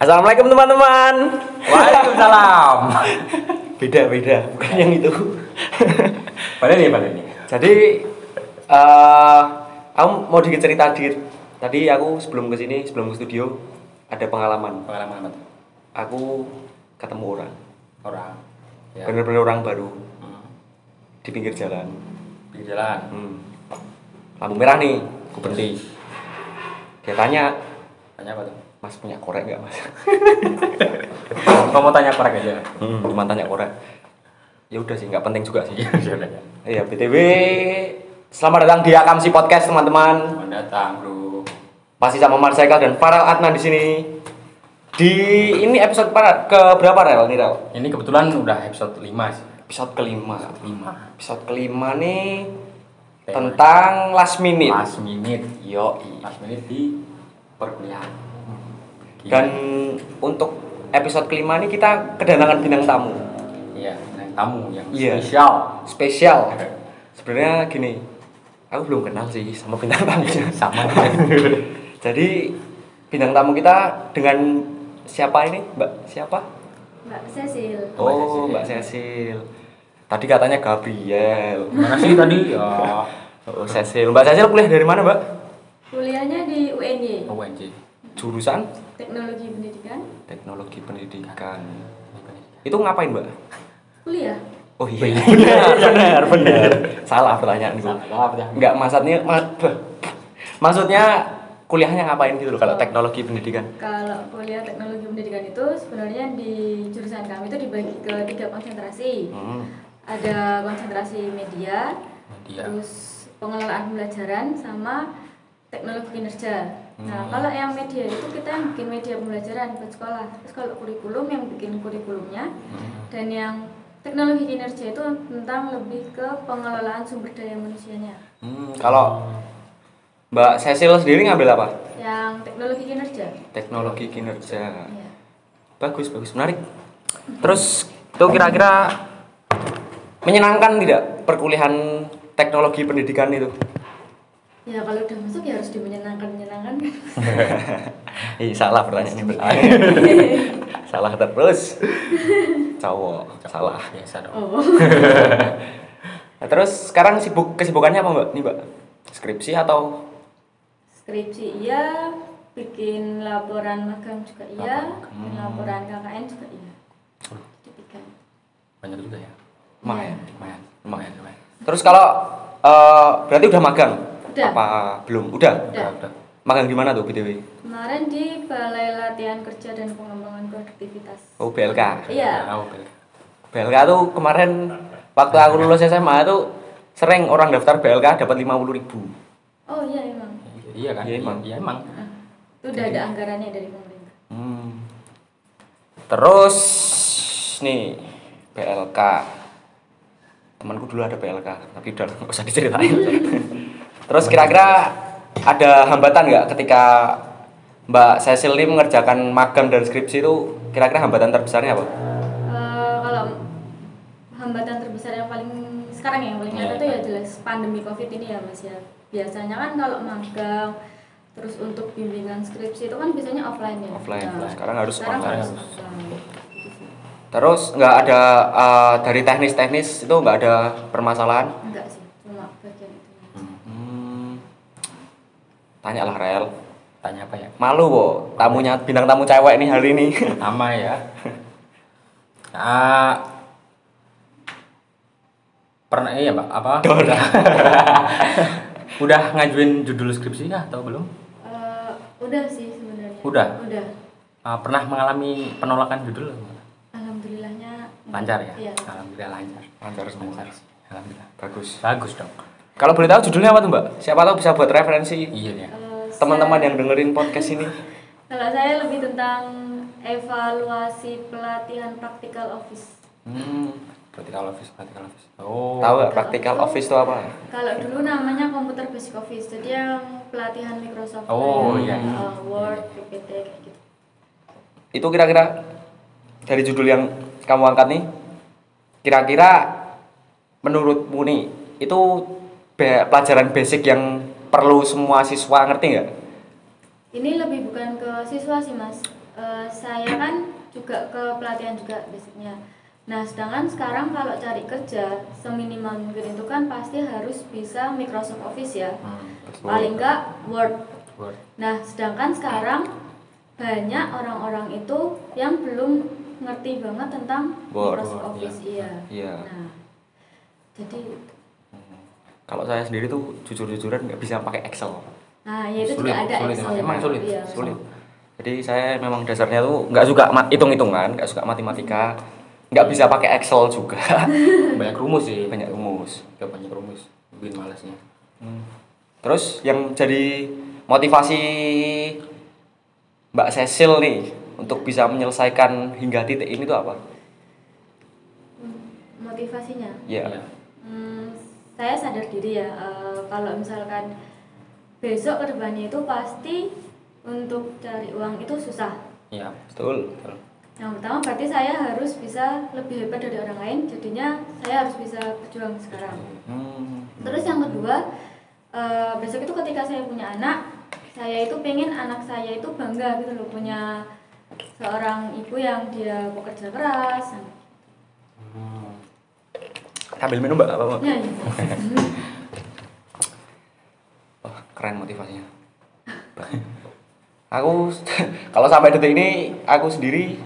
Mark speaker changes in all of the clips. Speaker 1: Assalamualaikum teman-teman.
Speaker 2: Waalaikumsalam.
Speaker 1: Beda beda, bukan yang itu.
Speaker 2: Balik nih, balik nih.
Speaker 1: Jadi, eh aku mau dikit cerita dikit. Tadi aku sebelum kesini, sebelum ke studio, ada pengalaman.
Speaker 2: Pengalaman apa tuh?
Speaker 1: Aku ketemu orang,
Speaker 2: Orang. Ya.
Speaker 1: bener-bener orang baru
Speaker 2: Hmm.
Speaker 1: di pinggir jalan.
Speaker 2: Di jalan.
Speaker 1: Hmm. Lampu merah nih, aku berhenti. Dia tanya,
Speaker 2: Tanya apa tuh?
Speaker 1: Mas punya korek nggak mas?
Speaker 2: Kamu mau tanya korek aja.
Speaker 1: Hmm, cuma tanya korek. Ya udah sih, nggak penting juga sih.
Speaker 2: Iya, iya, iya.
Speaker 1: Iya, btw, selamat datang di Akamsi Podcast teman-teman.
Speaker 2: Selamat datang, Bro.
Speaker 1: Masih sama Marcel dan Farel Adnan di sini. Di ini episode para ke berapa Rel ini Rel?
Speaker 2: Ini kebetulan udah episode 5 sih.
Speaker 1: Episode kelima.
Speaker 2: 5.
Speaker 1: Episode kelima nih
Speaker 2: Tema.
Speaker 1: tentang last minute.
Speaker 2: Last minute.
Speaker 1: Yo.
Speaker 2: Last minute Kan? di perkuliahan. Gila.
Speaker 1: Dan untuk episode kelima ini kita kedatangan bintang tamu
Speaker 2: iya, yang tamu yang
Speaker 1: Iya.
Speaker 2: spesial.
Speaker 1: spesial. Sebenarnya gini, aku belum kenal sih sama bintang tamunya.
Speaker 2: Sama.
Speaker 1: Jadi bintang tamu kita dengan siapa ini? Mbak siapa?
Speaker 3: Mbak Cecil.
Speaker 2: Mbak
Speaker 1: Oh,
Speaker 2: Cecil.
Speaker 1: Mbak Cecil. Tadi katanya Gabriel.
Speaker 2: Mana sih tadi? Ya.
Speaker 1: Oh, Cecil. Mbak Cecil kuliah dari mana, Mbak?
Speaker 3: Kuliahnya di UNY,
Speaker 2: ONG.
Speaker 1: Jurusan
Speaker 3: Teknologi Pendidikan.
Speaker 1: Teknologi
Speaker 2: Kan.
Speaker 1: Pendidikan. Itu ngapain, Mbak?
Speaker 3: Kuliah.
Speaker 1: Oh iya. Benar, benar, benar. Salah pertanyaan gua.
Speaker 2: Salah apa
Speaker 1: Enggak, maksudnya ma- maksudnya kuliahnya ngapain gitu loh kalau teknologi pendidikan.
Speaker 3: Kalau kuliah Teknologi Pendidikan itu sebenarnya di jurusan kami itu dibagi ke tiga konsentrasi.
Speaker 1: Hmm.
Speaker 3: Ada konsentrasi media,
Speaker 2: Media.
Speaker 3: terus pengelolaan pembelajaran sama teknologi kinerja. Nah, kalau yang media itu kita yang bikin media pembelajaran buat sekolah. Terus kalau kurikulum yang bikin kurikulumnya dan yang teknologi kinerja itu tentang lebih ke pengelolaan sumber daya manusianya.
Speaker 1: Hmm, kalau Mbak Cecil sendiri ngambil apa?
Speaker 3: yang teknologi kinerja
Speaker 1: Teknologi kinerja.
Speaker 3: Iya.
Speaker 1: Bagus, bagus, menarik. Terus itu kira-kira menyenangkan tidak perkuliahan teknologi pendidikan itu?
Speaker 3: ya kalau udah masuk ya harus dimenyenangkan menyenangkan
Speaker 1: Ih, salah pertanyaan ini bertanya. salah terus. Cowok, salah.
Speaker 2: Biasa dong.
Speaker 3: oh
Speaker 1: Nah, terus sekarang sibuk kesibukannya apa, Mbak? Nih, Mbak. Skripsi atau
Speaker 3: skripsi iya bikin laporan magang juga iya bikin laporan KKN juga iya Jadi tiga.
Speaker 2: Banyak juga ya.
Speaker 1: main?
Speaker 3: Iya.
Speaker 2: Lumayan.
Speaker 1: Lumayan.
Speaker 2: lumayan.
Speaker 1: Terus kalau eh, berarti udah magang?
Speaker 3: Udah.
Speaker 1: Apa belum? Udah.
Speaker 3: Udah.
Speaker 2: Udah.
Speaker 1: Magang di mana tuh, BTW?
Speaker 3: kemarin di balai latihan kerja dan pengembangan produktivitas
Speaker 1: Oh, BLK.
Speaker 3: iya
Speaker 2: Tahu, Bel.
Speaker 1: BLK tuh kemarin waktu aku lulus SMA tuh sering orang daftar BLK dapat 50.000 ribu.
Speaker 3: oh iya emang Nah,
Speaker 2: Iya kan?
Speaker 1: Iya, emang.
Speaker 2: Iya emang.
Speaker 3: itu udah ada anggarannya dari pemerintah
Speaker 1: Hmm. Terus nih BLK. Temanku dulu ada BLK, tapi udah nggak usah diceritain. Terus kira-kira ada hambatan nggak ketika Mbak Cecil ini mengerjakan magang dan skripsi itu kira-kira hambatan terbesarnya apa?
Speaker 3: Eh, kalau hambatan terbesar yang paling sekarang ya, yang paling nyata
Speaker 2: Iya.
Speaker 3: tuh ya jelas pandemi covid ini ya mas ya biasanya kan kalau magang terus untuk bimbingan skripsi itu kan biasanya offline ya
Speaker 1: Offline.
Speaker 3: Nah,
Speaker 1: Sekarang harus
Speaker 3: sekarang
Speaker 1: online.
Speaker 3: harus online. Gitu sih.
Speaker 1: Terus nggak ada eh, dari teknis-teknis itu nggak ada permasalahan?
Speaker 3: enggak sih cuma bagian itu
Speaker 1: Hmm. Tanyalah Rel.
Speaker 2: Tanya apa ya?
Speaker 1: Malu bo, tamunya bintang tamu cewek nih hari ini.
Speaker 2: Pertama ya. Ah, pernah iya mbak apa? Udah. Udah ngajuin judul skripsi kah atau belum?
Speaker 3: Eh, udah sih sebenarnya
Speaker 2: Udah?
Speaker 3: udah
Speaker 2: Ah, pernah mengalami penolakan judul? atau enggak?
Speaker 3: alhamdulillahnya
Speaker 2: Lancar ya?
Speaker 3: iya
Speaker 2: Alhamdulillah lancar.
Speaker 1: Lancar semua.
Speaker 2: Lancar sih. Alhamdulillah.
Speaker 1: Bagus.
Speaker 2: Bagus dong.
Speaker 1: Kalau boleh tahu judulnya apa tuh Mbak? Siapa tahu bisa buat referensi
Speaker 2: Iya ya.
Speaker 3: Eh,
Speaker 1: teman-teman
Speaker 3: saya-
Speaker 1: yang dengerin podcast ini.
Speaker 3: kalau saya lebih tentang evaluasi pelatihan practical office
Speaker 1: Hmm.
Speaker 2: Practical office, practical office. Oh.
Speaker 1: Tahu nggak practical office itu apa?
Speaker 3: Kalau dulu namanya komputer basic office, jadi yang pelatihan Microsoft
Speaker 2: Oh,
Speaker 3: kayak,
Speaker 2: iya, iya.
Speaker 3: uh, Word, PPT kayak gitu.
Speaker 1: Itu kira-kira dari judul yang kamu angkat nih, kira-kira menurutmu nih itu be- pelajaran basic yang perlu semua siswa ngerti nggak?
Speaker 3: Ini lebih bukan ke siswa sih mas, eh, saya kan juga ke pelatihan juga basicnya nah sedangkan sekarang kalau cari kerja seminimal mungkin itu kan pasti harus bisa Microsoft Office ya
Speaker 2: Hmm,
Speaker 3: paling enggak Word
Speaker 2: Word.
Speaker 3: Nah, sedangkan sekarang banyak orang-orang itu yang belum ngerti banget tentang
Speaker 1: Word,
Speaker 3: Microsoft
Speaker 2: Word,
Speaker 3: Office, iya.
Speaker 1: Iya.
Speaker 3: Nah, jadi
Speaker 1: Kalau saya sendiri tuh jujur-jujuran nggak bisa pakai Excel.
Speaker 3: nah ya itu
Speaker 2: Sulit,
Speaker 3: juga ada
Speaker 2: sulit
Speaker 3: Excel
Speaker 2: emang.
Speaker 3: ya.
Speaker 2: Emang sulit,
Speaker 3: Iya.
Speaker 1: Sulit. Jadi saya memang dasarnya tuh nggak suka ma- hitung-hitungan, nggak suka matematika, nggak bisa pakai Excel juga.
Speaker 2: Banyak rumus sih.
Speaker 1: Banyak rumus.
Speaker 2: Ya, banyak rumus. Bikin malasnya.
Speaker 1: Hmm. Terus yang jadi motivasi Mbak Cecil nih untuk bisa menyelesaikan hingga titik ini tuh apa?
Speaker 3: Hmm, Motivasinya.
Speaker 1: Iya.
Speaker 3: Hmm, saya sadar diri ya eh, kalau misalkan besok kedepannya itu pasti untuk cari uang itu susah.
Speaker 2: Iya.
Speaker 1: Betul.
Speaker 2: Betul.
Speaker 3: Yang pertama berarti saya harus bisa lebih hebat dari orang lain, jadinya saya harus bisa berjuang sekarang.
Speaker 1: Hmm.
Speaker 3: Terus yang kedua, eh, besok itu ketika saya punya anak, saya itu pengen anak saya itu bangga gitu loh punya seorang ibu yang dia bekerja keras.
Speaker 2: Hmm.
Speaker 1: Sambil minum Mbak nggak apa-apa.
Speaker 3: Ya,
Speaker 1: Wah, keren motivasinya. aku kalau sampai detik ini aku sendiri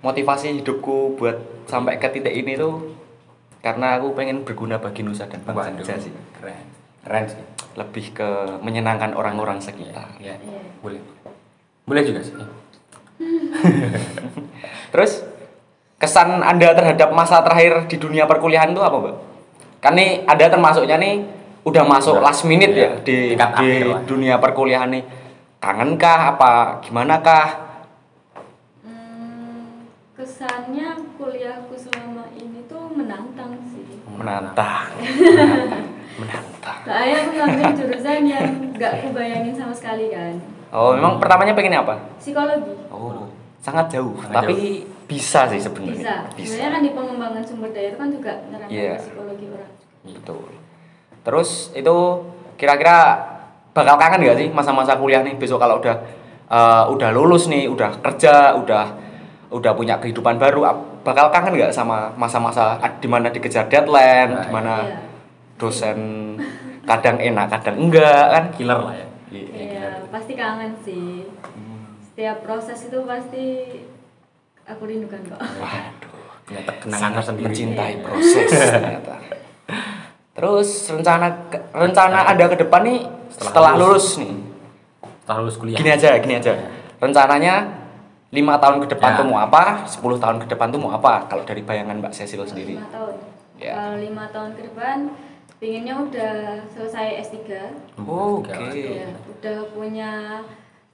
Speaker 1: motivasi hidupku buat sampai ke titik ini tuh karena aku pengen berguna bagi nusa dan bangsa
Speaker 2: Waduh,
Speaker 1: aja sih.
Speaker 2: Keren. Keren sih.
Speaker 1: Lebih ke menyenangkan orang-orang sekitar.
Speaker 2: Iya.
Speaker 3: Iya.
Speaker 2: Boleh. Boleh juga sih.
Speaker 1: Terus kesan Anda terhadap masa terakhir di dunia perkuliahan itu apa, Mbak? Kan nih Anda termasuknya nih udah masuk
Speaker 2: Udah,
Speaker 1: last minute
Speaker 2: iya,
Speaker 1: ya di,
Speaker 2: tingkat
Speaker 1: di
Speaker 2: akhir lah.
Speaker 1: dunia perkuliahan nih. Kangen kah apa gimana kah?
Speaker 3: Hmm, kesannya kuliahku selama ini tuh menantang sih.
Speaker 1: Menantang. Menantang.
Speaker 3: Soalnya aku ngambil jurusan yang nggak kubayangin sama sekali kan,
Speaker 1: Oh, memang pertamanya pengen apa?
Speaker 3: psikologi.
Speaker 1: Oh, sangat jauh,
Speaker 2: Sangat
Speaker 1: tapi bisa sih
Speaker 3: Bisa.
Speaker 1: sebenarnya.
Speaker 3: Sebenarnya kan di pengembangan sumber daya itu kan juga nerangin
Speaker 1: Iya.
Speaker 3: psikologi orang.
Speaker 1: Betul. Gitu. Terus itu kira-kira bakal kangen gak sih masa-masa kuliah nih besok kalau udah eh, udah lulus nih, udah kerja, udah udah punya kehidupan baru, ap- bakal kangen nggak sama masa-masa ad- di mana dikejar deadline,
Speaker 2: Nah,
Speaker 1: di mana
Speaker 3: iya.
Speaker 1: dosen kadang enak, kadang enggak kan?
Speaker 2: Killer lah ya.
Speaker 1: Iya.
Speaker 3: Iya, pasti kangen sih.
Speaker 1: Hmm.
Speaker 3: Setiap proses itu pasti aku rindukan kok.
Speaker 1: Waduh.
Speaker 2: Ternyata kenangan
Speaker 1: sangat
Speaker 2: tersendiri.
Speaker 1: mencintai proses ternyata. Terus rencana ke- rencana Anda ke depan nih setelah,
Speaker 2: Setelah
Speaker 1: lulus. nih.
Speaker 2: Setelah lulus kuliah.
Speaker 1: Gini aja, gini aja. Rencananya lima tahun ke depan
Speaker 2: Ya.
Speaker 1: tuh mau apa? 10 tahun ke depan tuh mau apa? Kalau dari bayangan Mbak Cecil sendiri.
Speaker 3: Lima tahun.
Speaker 1: Iya.
Speaker 3: Kalau lima tahun ke depan, pinginnya udah selesai S3,
Speaker 1: Oh, Oke.
Speaker 2: Tiga orang.
Speaker 1: Oke.
Speaker 3: ya, udah punya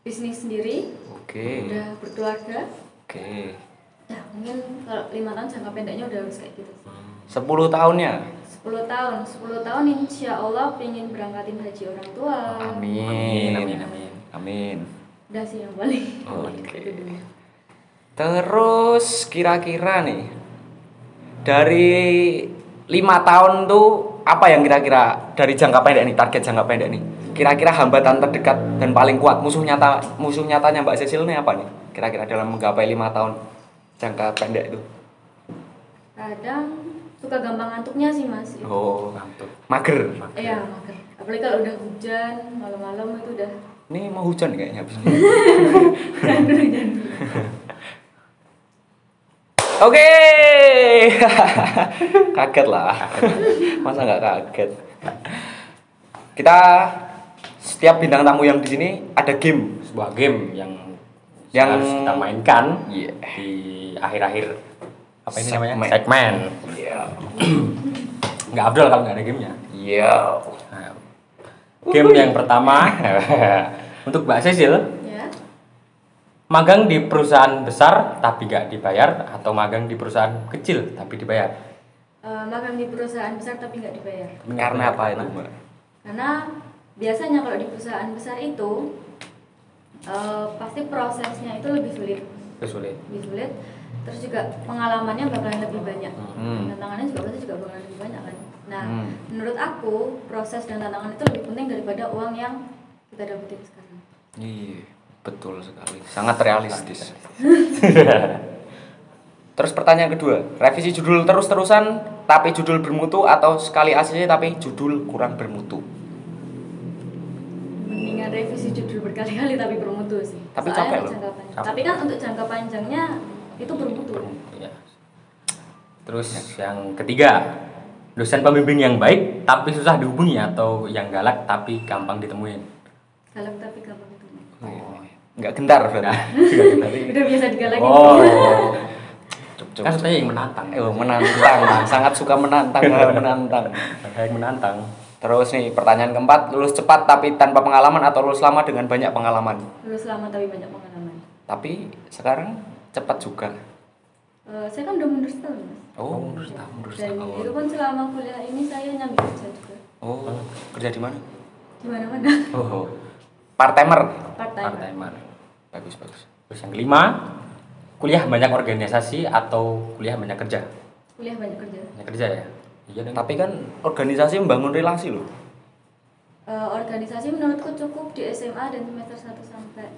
Speaker 3: bisnis sendiri,
Speaker 1: Iya.
Speaker 3: udah berkeluarga.
Speaker 1: Oke.
Speaker 3: Ya, mungkin kalau lima tahun jangka pendeknya udah harus kayak gitu. sih.
Speaker 1: 10 tahunnya.
Speaker 3: 10 tahun, 10 tahun insya Allah pingin berangkatin haji orang tua.
Speaker 1: Amin.
Speaker 2: Amin, amin, amin.
Speaker 1: Amin.
Speaker 3: Udah sih yang paling.
Speaker 1: Oke.
Speaker 3: Itu dulu.
Speaker 1: Terus kira-kira nih dari lima tahun tuh apa yang kira-kira dari jangka pendek nih target jangka pendek nih kira-kira hambatan terdekat dan paling kuat musuh nyata musuh nyatanya Mbak Cecil nih apa nih kira-kira dalam menggapai lima tahun jangka pendek itu
Speaker 3: Kadang suka gampang ngantuknya sih mas. Itu.
Speaker 1: oh
Speaker 2: Mantap.
Speaker 1: mager
Speaker 3: Iya, mager. Apalagi kalau udah hujan, malam-malam itu udah
Speaker 1: ini mau hujan kayaknya habis ini.
Speaker 3: hujan dulu hujan.
Speaker 1: Oke, kaget lah. Masa nggak kaget? Kita setiap bintang tamu yang di sini ada game.
Speaker 2: Sebuah game yang
Speaker 1: Yang-
Speaker 2: harus kita mainkan
Speaker 1: Iya.
Speaker 2: di akhir-akhir apa ini
Speaker 1: Segmen.
Speaker 2: namanya? Segmen.
Speaker 1: Iya.
Speaker 2: Nggak Abdul kalau nggak ada gamenya.
Speaker 1: Iya.
Speaker 2: Nah, Game yang pertama untuk Mbak Cecil,
Speaker 3: Ya.
Speaker 2: magang di perusahaan besar tapi nggak dibayar atau magang di perusahaan kecil tapi dibayar.
Speaker 3: Eh, magang di perusahaan besar tapi nggak dibayar.
Speaker 1: Karena apa ya, itu, Mbak?
Speaker 3: Karena biasanya kalau di perusahaan besar itu eh, pasti prosesnya itu lebih sulit,
Speaker 2: Itu sulit.
Speaker 3: lebih sulit. Terus juga pengalamannya bakalan lebih banyak.
Speaker 1: Hmm.
Speaker 3: Tantangannya juga pasti juga bakalan lebih banyak kan. Nah,
Speaker 1: Hmm.
Speaker 3: menurut aku proses dan tantangan itu lebih penting daripada uang yang kita dapetin sekarang.
Speaker 1: Iya. Betul sekali, sangat realistis. Terus pertanyaan kedua, revisi judul terus-terusan tapi judul bermutu atau sekali ACC tapi judul kurang bermutu.
Speaker 3: mendingan revisi judul berkali-kali tapi bermutu sih
Speaker 1: Tapi
Speaker 3: Soalnya
Speaker 1: capek
Speaker 3: kan
Speaker 1: loh.
Speaker 3: jangka panjang.
Speaker 2: Capek.
Speaker 3: tapi kan untuk jangka panjangnya itu bermutu
Speaker 2: Ya. Terus yang ketiga, dosen pembimbing yang baik tapi susah dihubungi atau yang galak tapi gampang ditemuin.
Speaker 3: galak tapi gampang ketemu
Speaker 1: Nggak gentar berarti.
Speaker 3: udah biasa digalakin
Speaker 1: iya.
Speaker 2: Oh,
Speaker 1: Cuk, cuk,
Speaker 2: kan
Speaker 1: cuk.
Speaker 2: saya yang menantang.
Speaker 1: Eh, menantang, sangat suka menantang, hal menantang.
Speaker 2: Saya yang menantang.
Speaker 1: Terus nih pertanyaan keempat, lulus cepat tapi tanpa pengalaman atau lulus lama dengan banyak pengalaman.
Speaker 3: lulus lama tapi banyak pengalaman
Speaker 1: Tapi sekarang cepat juga.
Speaker 3: Eh, saya kan udah mundur setahun mas
Speaker 1: Oh,
Speaker 3: dan itu pun selama kuliah ini saya nyambi kerja juga
Speaker 1: Oh, kerja di mana?
Speaker 3: di mana mana
Speaker 2: Oh,
Speaker 1: Part timer.
Speaker 2: part
Speaker 3: part time
Speaker 2: timer.
Speaker 1: Bagus, bagus.
Speaker 2: Terus yang kelima, kuliah banyak organisasi atau kuliah banyak kerja.
Speaker 3: kuliah banyak kerja
Speaker 2: Banyak kerja ya? Iya dong.
Speaker 1: Tapi kan organisasi membangun relasi loh.
Speaker 3: Eh, organisasi menurutku cukup di SMA dan semester 1 sampai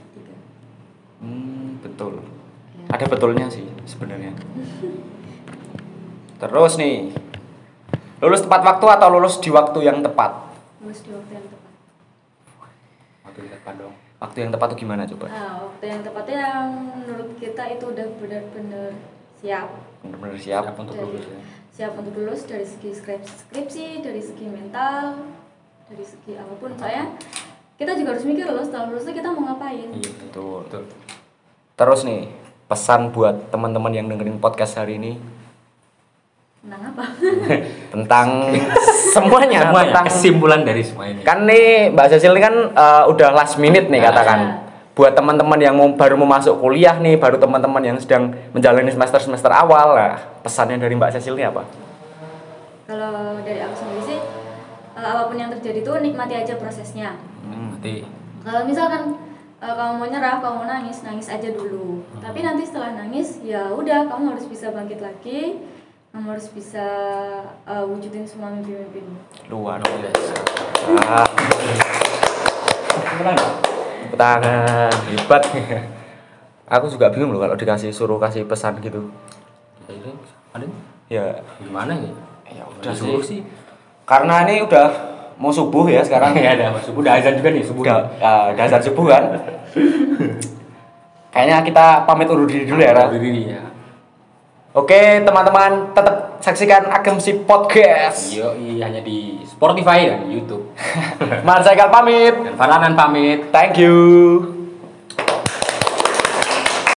Speaker 3: 3
Speaker 1: Hmm, betul. Ada betulnya sih sebenarnya. Terus nih, lulus tepat waktu atau lulus di waktu yang tepat?
Speaker 3: lulus di waktu yang tepat
Speaker 2: Waktu kita depan dong.
Speaker 1: Waktu yang tepat tuh gimana coba?
Speaker 3: Nah, waktu yang tepatnya yang menurut kita itu udah benar-benar siap.
Speaker 1: Benar-benar siap.
Speaker 2: Siap untuk
Speaker 3: Dari-
Speaker 2: lulus ya.
Speaker 3: Siap untuk lulus dari segi skripsi, skripsi, dari segi mental, dari segi apapun. Soalnya kita juga harus mikir loh setelah lulus tuh kita mau ngapain.
Speaker 2: Iya,
Speaker 1: Betul.
Speaker 2: betul.
Speaker 1: Terus nih, pesan buat teman-teman yang dengerin podcast hari ini
Speaker 3: Menang apa?
Speaker 1: tentang semuanya,
Speaker 2: Semuanya,
Speaker 1: tentang
Speaker 2: kesimpulan dari semua ini.
Speaker 1: kan nih Mbak Cecil ini kan eh, udah last minute nih katakan
Speaker 3: Iya.
Speaker 1: buat teman-teman yang mau, baru mau masuk kuliah nih baru teman-teman yang sedang menjalani semester semester awal lah pesannya dari Mbak Cecil ini apa
Speaker 3: Kalau dari aku sendiri sih, eh, apapun yang terjadi tuh nikmati aja prosesnya.
Speaker 2: Nanti
Speaker 3: Kalau misalkan eh, kamu mau nyerah, kamu mau nangis, nangis aja dulu. Tapi nanti setelah nangis, ya udah kamu harus bisa bangkit lagi. Kamu harus bisa eh, wujudin semua mimpi-mimpimu.
Speaker 1: luar
Speaker 2: biasa.
Speaker 1: biasa Tepuk tangan hebat aku juga bingung loh kalau dikasih suruh kasih pesan gitu
Speaker 2: Jadi, ada
Speaker 1: ya
Speaker 2: gimana ya?
Speaker 1: Ya udah
Speaker 2: Gimana
Speaker 1: sih. karena ini udah mau subuh ya sekarang
Speaker 2: Ya ada masuk. Udah azan juga nih subuh.
Speaker 1: udah eh, dasar subuh kan kayaknya kita pamit undur diri dulu ya Ra.
Speaker 2: Berdiri ya.
Speaker 1: Oke teman-teman tetap saksikan Agemsi Podcast.
Speaker 2: Yo, hanya di Spotify dan YouTube.
Speaker 1: Iya. Marzaikal pamit.
Speaker 2: Dan Farhanan pamit.
Speaker 1: Thank you.